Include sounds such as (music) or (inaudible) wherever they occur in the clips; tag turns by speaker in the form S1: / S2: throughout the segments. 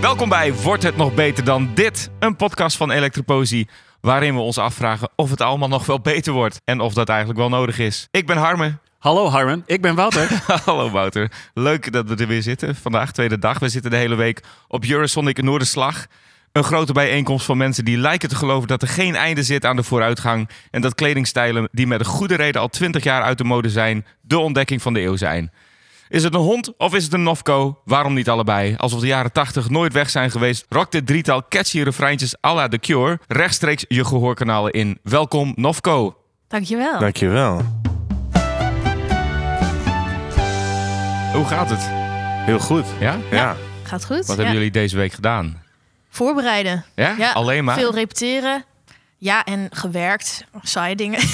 S1: Welkom bij Wordt het nog beter dan dit? Een podcast van Electropoëzie waarin we ons afvragen of het allemaal nog wel beter wordt en of dat eigenlijk wel nodig is. Ik ben Harmen.
S2: Hallo Harmen, ik ben (laughs) Wouter.
S1: (laughs) Hallo Wouter. Leuk dat we er weer zitten. Vandaag tweede dag. We zitten de hele week op Eurosonic Noorderslag. Een grote bijeenkomst van mensen die lijken te geloven dat er geen einde zit aan de vooruitgang. En dat kledingstijlen die met een goede reden al twintig jaar uit de mode zijn, de ontdekking van de eeuw zijn. Is het een hond of is het een Nofco? Waarom niet allebei? Alsof de jaren 80 nooit weg zijn geweest, rokt dit drietal catchy refreintjes à la The Cure rechtstreeks je gehoorkanalen in. Welkom Nofco.
S3: Dankjewel.
S4: Dankjewel.
S1: Hoe gaat het?
S4: Heel goed.
S1: Ja?
S4: Ja.
S3: Gaat goed.
S1: Wat
S3: ja.
S1: hebben jullie deze week gedaan?
S3: Voorbereiden.
S1: Ja? Alleen maar?
S3: Veel repeteren. Ja, en gewerkt. Oh, Saaie dingen. (laughs)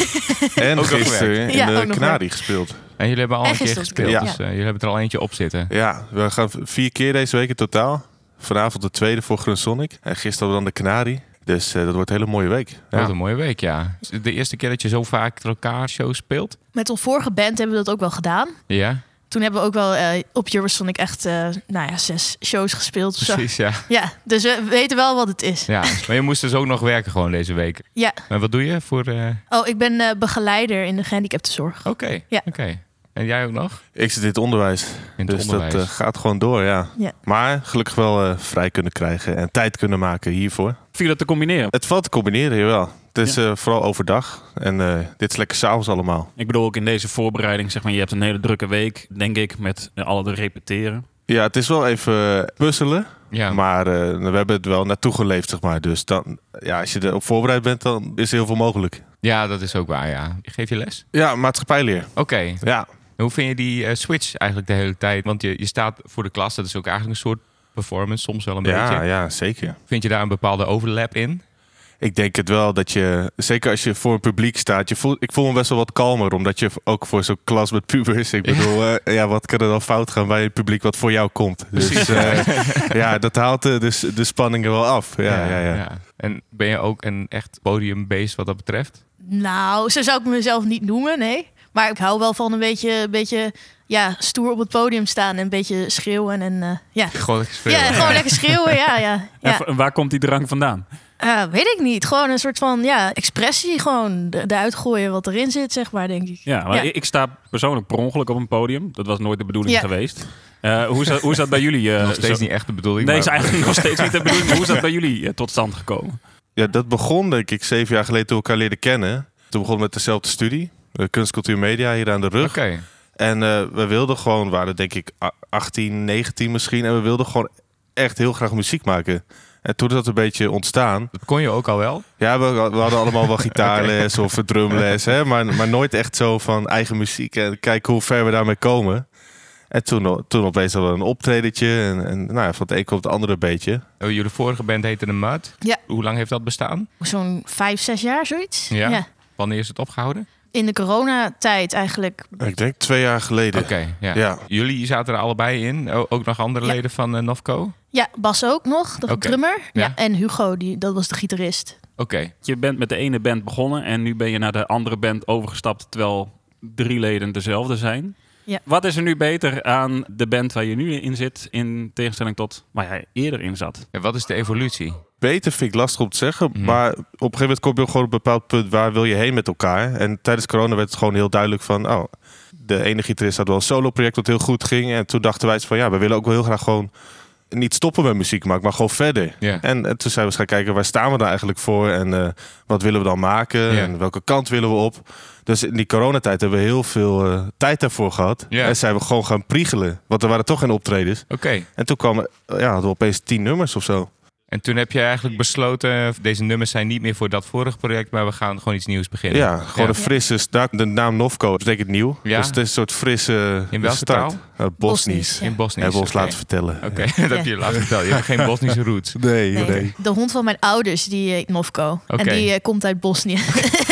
S4: En
S1: Ook nog
S4: gisteren in
S3: Ja, ook
S4: de
S3: nog
S4: Canarie gespeeld.
S1: En jullie hebben al
S3: En
S1: een keer
S3: gisteren
S1: gespeeld,
S4: Ja.
S1: dus eh, jullie hebben er al eentje op zitten.
S4: Ja, we gaan vier keer deze week in totaal. Vanavond de tweede voor Grunsonic. En gisteren hadden we dan de Canarie. Dus eh, dat wordt een hele mooie week.
S1: Wat
S4: Ja.
S1: een mooie week, ja. Is het De eerste keer dat je zo vaak door elkaar shows speelt?
S3: Met ons vorige band hebben we dat ook wel gedaan.
S1: Ja,
S3: Toen hebben we ook wel eh, op Eurosonic echt, eh, nou ja, zes shows gespeeld of zo.
S1: precies, ja.
S3: Ja, dus we weten wel wat het is.
S1: ja. Maar je moest dus ook nog werken gewoon deze week.
S3: Ja.
S1: En wat doe je voor... eh,
S3: Oh, ik ben eh, begeleider in de gehandicaptenzorg.
S1: Oké,
S3: Ja.
S1: oké. En jij ook nog?
S4: Ik zit in het onderwijs.
S1: In het
S4: dus
S1: onderwijs.
S4: dat eh, gaat gewoon door, ja.
S3: Ja.
S4: Maar gelukkig wel eh, vrij kunnen krijgen en tijd kunnen maken hiervoor.
S2: Viel dat te combineren?
S4: Het valt te combineren, jawel. Het is
S2: Ja.
S4: eh, vooral overdag. En eh, dit is lekker s'avonds allemaal.
S2: Ik bedoel ook in deze voorbereiding, zeg maar, je hebt een hele drukke week, denk ik, met eh, alle de repeteren.
S4: Ja, het is wel even eh, puzzelen.
S1: ja.
S4: Maar eh, we hebben het wel naartoe geleefd, zeg maar. Dus dan, ja, als je erop voorbereid bent, dan is er heel veel mogelijk.
S1: ja, dat is ook waar, ja. Geef je les?
S4: Ja, maatschappijleer.
S1: Oké.
S4: Ja.
S1: Hoe vind je die eh, switch eigenlijk de hele tijd? Want je, je staat voor de klas, dat is ook eigenlijk een soort performance, soms wel een
S4: Ja,
S1: beetje.
S4: ja, zeker.
S1: Vind je daar een bepaalde overlap in?
S4: Ik denk het wel dat je, zeker als je voor een publiek staat, je voelt, ik voel me best wel wat kalmer, omdat je ook voor zo'n klas met pubers, ik bedoel, ja, ja wat kan er dan fout gaan bij het publiek wat voor jou komt? Dus (laughs) eh, ja, dat haalt eh, dus de spanning er wel af. Ja, ja, ja,
S1: En ben je ook een echt podiumbeest wat dat betreft?
S3: Nou, zo zou ik mezelf niet noemen, nee. Maar ik hou wel van een beetje, een beetje ja, stoer op het podium staan en een beetje schreeuwen. En, eh, ja.
S1: Gewoon lekker spelen.
S3: ja, gewoon lekker schreeuwen,
S1: (laughs)
S3: ja, ja. ja.
S2: En v- waar komt die drang vandaan?
S3: Eh, weet ik niet. Gewoon een soort van ja, expressie. Gewoon de- eruit gooien wat erin zit, zeg maar, denk ik.
S2: Ja, maar
S3: Ja.
S2: Ik, ik sta persoonlijk per ongeluk op een podium. Dat was nooit de bedoeling
S3: Ja.
S2: geweest. Eh, hoe, is dat, hoe is dat bij jullie? eh, (laughs)
S1: Nog steeds
S2: zo-
S1: niet echt de bedoeling.
S2: Nee,
S1: maar-
S2: is eigenlijk nog steeds niet de bedoeling. Maar hoe is dat bij jullie eh, tot stand gekomen?
S4: Ja, dat begon denk ik zeven jaar geleden toen we elkaar leren kennen. Toen begon met dezelfde studie, eh, kunst, cultuur, media hier aan de rug.
S1: Oké.
S4: En eh, we wilden gewoon, we waren denk ik a- 18, 19 misschien. En we wilden gewoon echt heel graag muziek maken. En toen is dat een beetje ontstaan.
S1: Dat kon je ook al wel.
S4: Ja, we, we hadden allemaal wel gitaarles of drumles. Hè? Maar, maar nooit echt zo van eigen muziek. En kijken hoe ver we daarmee komen. En toen, toen opeens hadden we een optredetje. En, en nou ja, van het een komt het andere beetje.
S1: Oh, jullie vorige band heette de Mud.
S3: Ja.
S1: Hoe lang heeft dat bestaan?
S3: Zo'n vijf, zes jaar, zoiets.
S1: Ja. Wanneer is het opgehouden?
S3: In de coronatijd eigenlijk.
S4: Ik denk twee jaar geleden.
S1: Oké, ja.
S4: Ja.
S1: Jullie zaten er allebei in. O- ook nog andere
S3: Ja.
S1: leden van eh, Nofco? Oké.
S3: Ja, Bas ook nog, de
S1: Oké.
S3: drummer.
S1: Ja.
S3: Ja. En Hugo, die, dat was de gitarist.
S2: Je bent met de ene band begonnen en nu ben je naar de andere band overgestapt, terwijl drie leden dezelfde zijn.
S3: Ja.
S2: Wat is er nu beter aan de band waar je nu in zit, in tegenstelling tot waar jij eerder in zat?
S1: En wat is de evolutie?
S4: Beter vind ik lastig om te zeggen.
S1: Mhm.
S4: Maar op een gegeven moment kom je ook gewoon op een bepaald punt waar wil je heen met elkaar. En tijdens corona werd het gewoon heel duidelijk van... Oh, de ene gitarist had wel een solo project dat heel goed ging. En toen dachten wij van ja, we willen ook wel heel graag gewoon... Niet stoppen met muziek maken, maar gewoon verder.
S1: Ja.
S4: En, en toen zijn we eens gaan kijken, waar staan we daar eigenlijk voor? En eh, wat willen we dan maken?
S1: Ja.
S4: En welke kant willen we op? Dus in die coronatijd hebben we heel veel eh, tijd daarvoor gehad.
S1: Ja.
S4: En zijn we gewoon gaan priegelen. Want er waren toch geen optredens.
S1: Oké.
S4: En toen kwamen ja, hadden we opeens tien nummers of zo.
S1: En toen heb je eigenlijk besloten, deze nummers zijn niet meer voor dat vorige project, maar we gaan gewoon iets nieuws beginnen.
S4: Ja, gewoon een frisse start. De naam Novko betekent nieuw.
S1: Ja.
S4: Dus het is een soort frisse
S1: In welke
S4: start.
S1: taal?
S4: Eh, Bosnisch.
S3: Ja.
S1: In Bosnië.
S4: Hebben we ons
S1: Oké.
S4: laten vertellen.
S1: Oké, (laughs) dat heb je laten vertellen. Je
S4: (laughs)
S1: hebt geen Bosnische roots.
S4: Nee,
S3: Nee.
S4: nee.
S3: De hond van mijn ouders, die heet Novko.
S1: Oké.
S3: En die eh, komt uit
S1: (laughs)
S3: Bosnië. (laughs)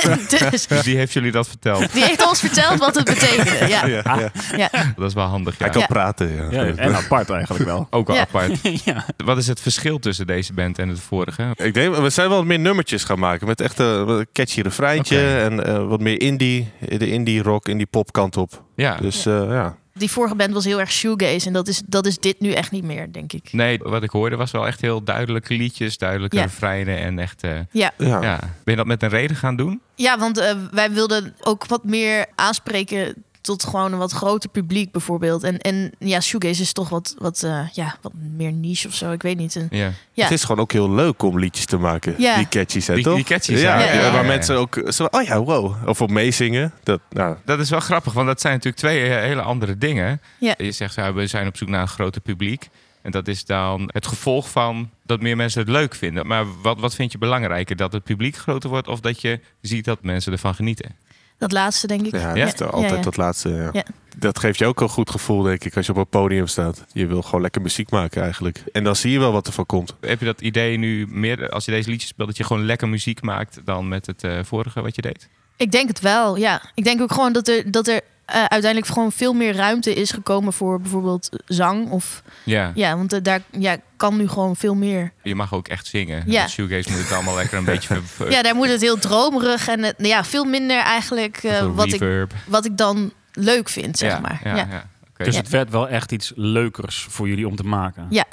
S3: dus
S1: Dus die heeft jullie dat verteld.
S3: die heeft ons verteld wat het betekende. Ja, ja.
S4: (laughs) Ja,
S1: Ah.
S4: ja.
S1: Dat is wel handig. Ja.
S4: Hij kan
S3: Ja.
S4: praten. Ja.
S2: en apart eigenlijk (laughs) wel.
S1: Ook wel
S3: Ja.
S1: apart.
S2: ja.
S1: Wat is het verschil tussen deze band en het vorige?
S4: Ik denk, we zijn wel wat meer nummertjes gaan maken. Met echt eh, wat een catchy refreintje.
S1: Oké.
S4: En eh, wat meer indie. De indie rock, indie pop kant op.
S1: Ja,
S4: Dus eh, ja.
S3: die vorige band was heel erg shoegaze. En dat is, dat is dit nu echt niet meer, denk ik.
S1: Nee, wat ik hoorde was wel echt heel duidelijke liedjes, duidelijke
S3: Ja.
S1: refreinen en echt... eh,
S3: Ja,
S4: Ja.
S1: ja. Ben je dat met een reden gaan doen?
S3: ja want eh, wij wilden ook wat meer aanspreken tot gewoon een wat groter publiek bijvoorbeeld. En, en ja, shoegaze is toch wat, wat, eh, ja, wat meer niche of zo. Ik weet niet. En-
S1: Ja.
S3: Ja.
S4: Het is gewoon ook heel leuk om liedjes te maken.
S3: Ja.
S4: Die catchy zijn,
S1: Die-
S4: toch?
S1: die catchy
S4: Ja,
S1: zijn,
S3: ja, ja,
S4: waar
S1: ja.
S4: mensen ook... Zo, oh ja, wow. Of op meezingen. Dat, nou,
S1: Dat is wel grappig, want dat zijn natuurlijk twee eh, hele andere dingen.
S3: Ja.
S1: Je zegt, ja, we zijn op zoek naar een groter publiek. En dat is dan het gevolg van dat meer mensen het leuk vinden. Maar wat, wat vind je belangrijker? Dat het publiek groter wordt of dat je ziet dat mensen ervan genieten?
S3: Dat laatste, denk ik.
S4: ja, dat
S1: Ja.
S4: is altijd
S3: ja, ja.
S4: dat laatste. ja.
S3: Ja.
S4: Dat geeft je ook een goed gevoel, denk ik, als je op een podium staat. Je wil gewoon lekker muziek maken eigenlijk. En dan zie je wel wat er van komt.
S1: Heb je dat idee nu meer, als je deze liedjes speelt, dat je gewoon lekker muziek maakt dan met het eh, vorige wat je deed?
S3: Ik denk het wel, ja. Ik denk ook gewoon dat er, dat er eh, uiteindelijk gewoon veel meer ruimte is gekomen voor bijvoorbeeld zang. Of,
S1: Ja,
S3: ja, want eh, daar ja, kan nu gewoon veel meer.
S1: je mag ook echt zingen.
S3: Ja.
S1: Met Shoegaze moet het allemaal (laughs) lekker een beetje... ver-
S4: Eh,
S1: ver-
S3: Ja, daar moet het heel dromerig en eh, ja, veel minder eigenlijk eh,
S1: ver-
S3: wat, ik,
S1: reverb.
S3: wat ik dan leuk vind, zeg
S1: Ja,
S3: maar.
S1: Ja,
S3: Ja,
S1: ja.
S3: ja.
S1: Oké.
S2: Dus het werd wel echt iets leukers voor jullie om te maken.
S3: Ja.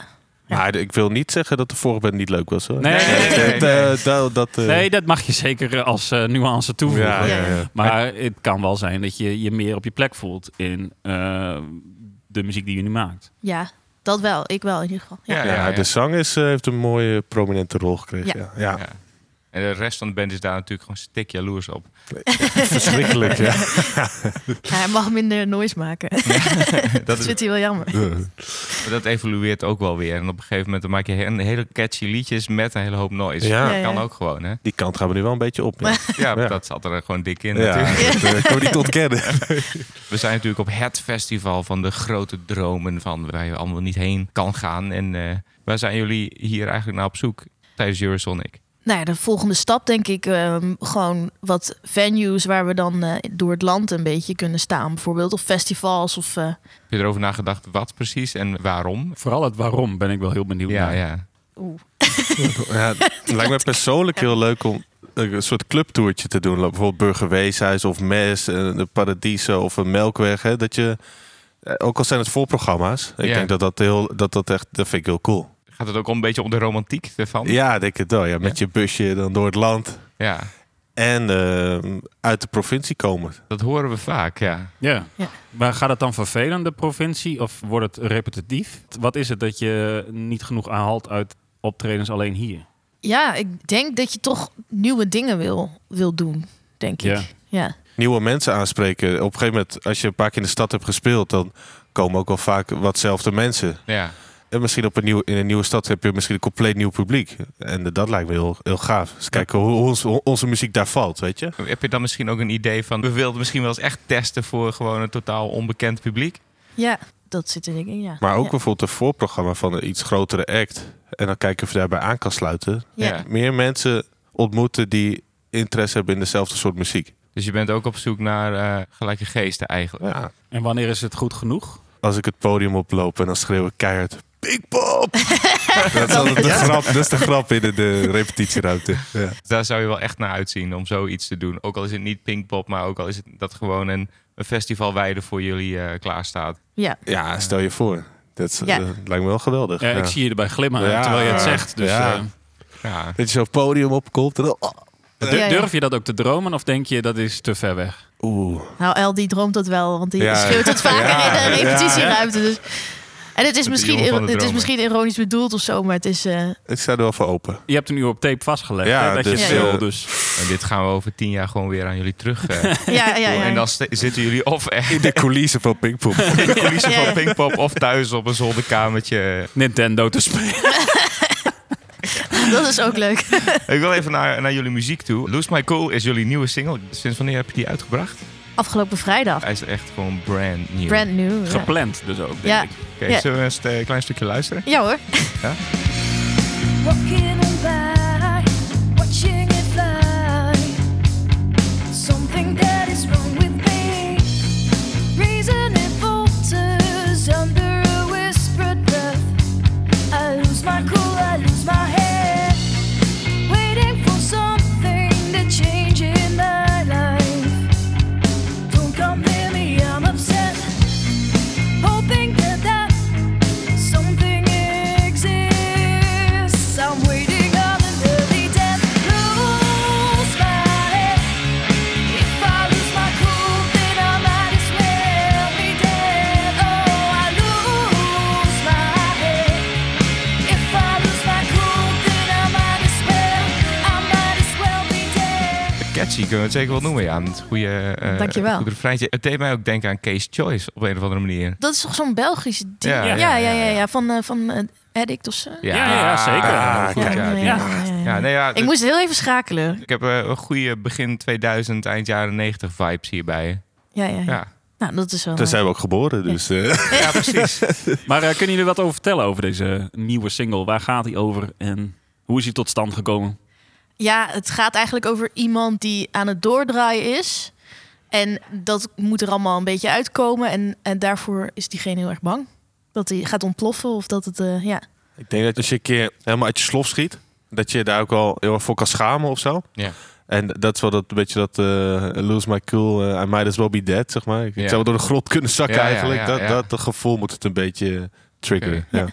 S4: Maar ik wil niet zeggen dat de vorige band niet leuk was. Hoor.
S2: Nee, nee, nee,
S1: nee,
S4: Dat, eh, dat, dat, eh,
S2: Nee, dat mag je zeker eh, als eh, nuance toevoegen.
S4: ja, ja, ja.
S2: Maar het kan wel zijn dat je je meer op je plek voelt in eh, de muziek die je nu maakt.
S3: dat wel. Ik wel in ieder geval. Ja.
S1: Ja,
S4: Ja, de zang is, eh, heeft een mooie prominente rol gekregen. Ja. Ja.
S1: Ja. En de rest van de band is daar natuurlijk gewoon stik jaloers op.
S4: Verschrikkelijk, ja.
S3: Ja, (laughs) hij mag minder noise maken. (laughs) dat
S1: dat, is,
S3: vindt hij wel jammer.
S1: dat evolueert ook wel weer. En op een gegeven moment dan maak je een hele catchy liedjes met een hele hoop noise.
S4: Ja.
S1: Dat
S3: Ja,
S1: kan
S3: ja.
S1: ook gewoon,
S3: (laughs)
S1: hè?
S4: Die kant gaan we nu wel een beetje op. Ja,
S1: Ja,
S4: Ja.
S1: dat zat er gewoon dik in
S4: ja.
S1: natuurlijk.
S4: (laughs) dat eh, kan we niet ontkennen.
S1: We zijn natuurlijk op het festival van de grote dromen van waar je allemaal niet heen kan gaan. En eh, waar zijn jullie hier eigenlijk naar op zoek tijdens Eurosonic?
S3: Nou ja, de volgende stap denk ik ehm, gewoon wat venues waar we dan eh, door het land een beetje kunnen staan. Bijvoorbeeld of festivals of... eh,
S1: Heb je erover nagedacht wat precies en waarom?
S2: Vooral het waarom ben ik wel heel benieuwd
S1: Ja,
S2: naar.
S1: ja.
S3: oeh.
S4: Ja, het lijkt me persoonlijk heel leuk om een soort clubtoertje te doen. Bijvoorbeeld Burgerweeshuis of Mes, eh, de Paradiso of een Melkweg. Hè, dat je, eh, ook al zijn het voorprogramma's. Ik
S1: Ja.
S4: denk dat dat, heel, dat dat echt, dat vind ik heel cool.
S1: Gaat het ook om een beetje om de romantiek ervan?
S4: Ja, ik denk het wel. Ja, met je busje dan door het land.
S1: ja.
S4: En eh, uit de provincie komen.
S1: Dat horen we vaak, ja.
S2: Ja.
S3: Ja.
S2: Maar gaat het dan vervelen, de provincie, of wordt het repetitief? Wat is het dat je niet genoeg haalt uit optredens alleen hier?
S3: Ja, ik denk dat je toch nieuwe dingen wil, wil doen, denk
S2: Ja.
S3: ik. Ja.
S4: nieuwe mensen aanspreken. Op een gegeven moment, als je een paar keer in de stad hebt gespeeld, dan komen ook wel vaak watzelfde mensen.
S1: ja.
S4: En misschien op een nieuw, in een nieuwe stad heb je misschien een compleet nieuw publiek. En dat lijkt me heel, heel gaaf. Dus kijken hoe, ons- hoe onze muziek daar valt, weet je?
S1: Heb je dan misschien ook een idee van, we wilden misschien wel eens echt testen voor gewoon een totaal onbekend publiek?
S3: ja, dat zit er denk ik in, ja.
S4: Maar ook
S3: Ja. bijvoorbeeld
S4: bijvoorbeeld een voorprogramma van een iets grotere act. En dan kijken of je daarbij aan kan sluiten.
S3: Ja.
S1: Ja.
S4: Meer mensen ontmoeten die interesse hebben in dezelfde soort muziek.
S1: Dus je bent ook op zoek naar eh, gelijke geesten eigenlijk.
S4: Ja.
S2: En wanneer is het goed genoeg?
S4: Als ik het podium oploop en dan schreeuw ik keihard... Big (laughs) Bob! dat, is altijd de grap, dat is de grap in de, de repetitieruimte. Ja.
S1: Daar zou je wel echt naar uitzien om zoiets te doen. Ook al is het niet Pinkpop, maar ook al is het dat gewoon een, een festival wijde voor jullie eh, klaar klaarstaat.
S3: Ja.
S4: Ja, stel je voor. Dat is-
S3: Ja.
S4: eh, lijkt me wel geweldig.
S2: Ja,
S4: Ja.
S2: Ik zie je erbij glimmen
S4: Ja.
S2: terwijl je het zegt. Dus,
S4: Ja.
S2: eh,
S1: Ja.
S4: Dat je zo'n podium opkomt en dan... oh,
S2: dur-
S3: Ja, ja.
S2: Durf je dat ook te dromen of denk je dat is te ver weg?
S4: Oeh.
S3: Nou, El die droomt dat wel, want die
S4: Ja.
S3: schreeuwt het vaker
S4: Ja.
S3: in de repetitieruimte. Dus. En het is,
S1: de
S3: misschien,
S1: jongen van de
S3: het is
S1: dromen.
S3: misschien ironisch bedoeld of zo, maar het is... eh,
S4: Ik sta er wel voor open.
S2: Je hebt hem nu op tape vastgelegd.
S4: Ja,
S2: hè, dat
S4: dus,
S2: je het wil,
S4: eh,
S2: dus.
S1: En dit gaan we over tien jaar gewoon weer aan jullie terug. (laughs) eh,
S3: ja, ja, ja,
S1: doen.
S3: ja.
S1: En dan st- zitten jullie of echt
S4: In de coulissen van Pinkpop.
S1: (laughs) in de coulissen
S3: Ja.
S1: van Pinkpop of thuis op een zolderkamertje.
S2: Nintendo te spelen.
S3: dat is ook leuk.
S1: Ik wil even naar, naar jullie muziek toe. Lose My Cool is jullie nieuwe single. Sinds wanneer heb je die uitgebracht?
S3: (laughs) Afgelopen vrijdag.
S1: Hij is echt gewoon brand nieuw.
S3: Brand new. ja.
S2: Gepland dus ook, denk
S3: Ja.
S2: ik.
S1: Oké,
S3: Ja.
S1: zullen we eens eh, een klein stukje luisteren?
S3: Ja hoor.
S5: Walking on by, watching it fly. Something that is wrong with me. Reason it falters under a whispered breath. I lose my cool, I lose my head. Waiting for something to change in my life. Don't come near me, I'm upset. Oh,
S1: Catchy, kunnen we het zeker wel noemen. Ja, het goede, eh
S3: Dankjewel.
S1: goede refreintje. Het deed mij ook denken aan Case Choice op een of andere manier.
S3: Dat is toch zo'n Belgische die-
S1: Ja,
S3: Ja,
S1: ja,
S3: ja, ja, ja,
S1: ja,
S3: Van, eh, van eh, Addict of zo.
S2: Ja, ja, zeker.
S1: Ah,
S3: Ja,
S1: kijk, ja, die-
S3: ja,
S1: ja.
S3: ja, ja.
S1: nee, ja, dus
S3: Ik moest heel even schakelen.
S1: ik heb eh, een goede begin 2000, eind jaren 90 vibes hierbij.
S3: Ja, ja, ja.
S1: Ja,
S3: Nou, dat is wel...
S4: (laughs) Daar zijn we ook geboren, dus... eh,
S1: ja precies. (laughs)
S2: Maar eh, kunnen jullie wat over vertellen over deze nieuwe single? Waar gaat hij over en hoe is hij tot stand gekomen?
S3: Ja, het gaat eigenlijk over iemand die aan het doordraaien is. En dat moet er allemaal een beetje uitkomen. En, en daarvoor is diegene heel erg bang. Dat hij gaat ontploffen of dat het... eh, ja.
S4: Ik denk dat als je een keer helemaal uit je slof schiet, dat je daar ook wel heel erg voor kan schamen of zo.
S1: Ja.
S4: En dat is wel dat een beetje dat eh, lose my cool, eh, I might as well be dead, zeg maar. Ik, ik
S1: Ja.
S4: zou wel door de grot kunnen zakken
S1: Ja, ja,
S4: eigenlijk.
S1: ja,
S4: dat,
S1: ja.
S4: dat dat gevoel moet het een beetje triggeren.
S1: Oké.
S4: Ja.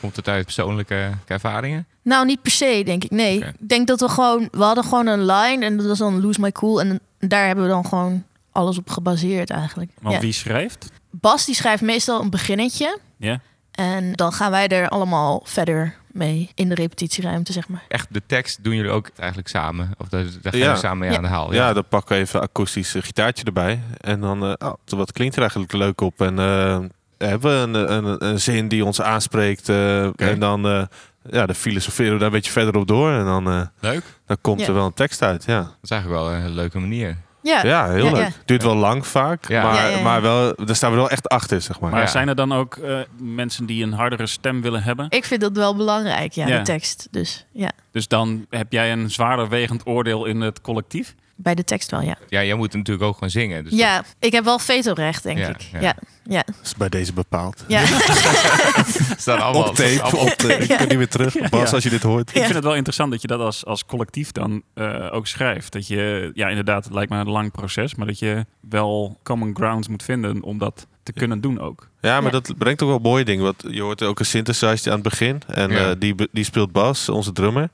S1: Komt het uit persoonlijke ervaringen?
S3: Nou, niet per se, denk ik. Nee,
S1: Oké.
S3: ik denk dat we gewoon... We hadden gewoon een line en dat was dan Lose My Cool. En daar hebben we dan gewoon alles op gebaseerd eigenlijk.
S2: Want
S3: Ja.
S2: wie schrijft?
S3: Bas die schrijft meestal een beginnetje.
S2: Ja.
S3: En dan gaan wij er allemaal verder mee in de repetitieruimte, zeg maar.
S1: Echt, de tekst doen jullie ook eigenlijk samen? Of daar, daar gaan
S4: Ja.
S1: jullie samen mee
S3: Ja.
S1: aan de haal?
S4: Ja, dan pakken we even een akoestisch eh, gitaartje erbij. En dan, eh, oh, wat klinkt er eigenlijk leuk op? En eh, hebben we een, een, een zin die ons aanspreekt. eh, En dan, eh, ja, dan filosoferen we daar een beetje verder op door. En dan, eh,
S1: Leuk.
S4: dan komt
S3: Ja.
S4: er wel een tekst uit, ja.
S1: Dat is eigenlijk wel een leuke manier.
S3: Ja,
S4: Ja, heel
S3: Eh, Ja,
S4: leuk.
S3: ja.
S4: Duurt wel lang vaak,
S1: Ja.
S4: Maar,
S3: Ja, ja, ja.
S4: maar wel, daar staan we wel echt achter, zeg maar.
S2: Maar
S1: Ja.
S2: zijn er dan ook eh, mensen die een hardere stem willen hebben?
S3: ik vind dat wel belangrijk, ja,
S2: Ja.
S3: de tekst. Dus ja,
S2: Dus dan heb jij een zwaarder wegend oordeel in het collectief?
S3: bij de tekst wel, ja.
S1: Ja, jij moet natuurlijk ook gewoon zingen. Dus
S3: ja, ik heb wel vetorecht, denk
S1: Ja,
S3: ik.
S1: ja.
S3: Ja, ja. ja.
S4: Dat is bij deze bepaald.
S1: dat is dan allemaal...
S4: op tape, op tape. Ik kan niet meer terug. Bas,
S2: Ja.
S4: als je dit hoort.
S2: Ik vind het wel interessant dat je dat als, als collectief dan eh, ook schrijft. Dat je, ja inderdaad, het lijkt me een lang proces, maar dat je wel common grounds moet vinden om dat te kunnen doen ook.
S4: Ja, maar
S3: Ja.
S4: dat brengt ook wel mooie dingen. Want je hoort ook een synthesizer aan het begin. En
S1: Ja.
S4: eh, die, be- die speelt Bas, onze drummer.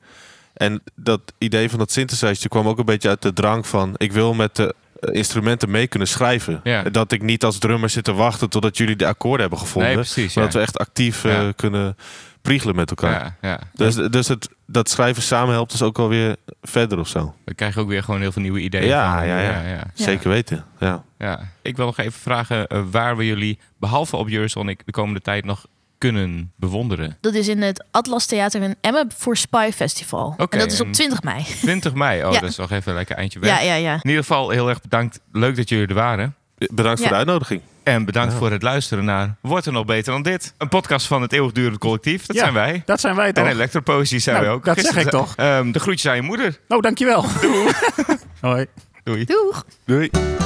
S4: En dat idee van dat synthesizer kwam ook een beetje uit de drang van... ik wil met de eh, instrumenten mee kunnen schrijven.
S1: Ja.
S4: Dat ik niet als drummer zit te wachten totdat jullie de akkoorden hebben gevonden.
S1: Nee, precies.
S4: maar
S1: Ja.
S4: dat we echt actief eh,
S1: Ja.
S4: kunnen priegelen met elkaar.
S1: ja, ja.
S4: Dus, dus het, dat schrijven samen helpt dus ook wel weer verder of zo.
S1: Dan krijg je ook weer gewoon heel veel nieuwe ideeën.
S4: Ja,
S1: van.
S4: ja, ja.
S1: ja.
S3: Ja.
S4: Zeker weten. Ja.
S1: Ja. Ik wil nog even vragen eh, waar we jullie, behalve op Eurosonic, de komende tijd nog kunnen bewonderen.
S3: (laughs) Dat is in het Atlas Theater in Emmen voor Spy Festival.
S1: Oké,
S3: en dat is
S1: en-
S3: op 20 mei.
S1: 20 mei. Oh,
S3: Ja.
S1: dat is nog even een lekker eindje weg.
S3: Ja, ja, ja.
S1: In ieder geval heel erg bedankt. Leuk dat jullie er waren.
S4: Bedankt
S3: Ja.
S4: voor de uitnodiging.
S1: En bedankt voor het luisteren naar Wordt er nog beter dan dit? Een podcast van het eeuwigdurend collectief. Dat
S2: Ja,
S1: zijn wij.
S2: Dat zijn wij
S1: En
S2: toch?
S1: elektropoëzie zijn
S2: Nou,
S1: wij ook.
S2: dat zeg ik
S1: zei-
S2: toch.
S1: ehm, de groetjes aan je moeder.
S2: Nou, dankjewel. Doei. (laughs) Hoi.
S1: Doei.
S3: Doeg!
S4: Doei.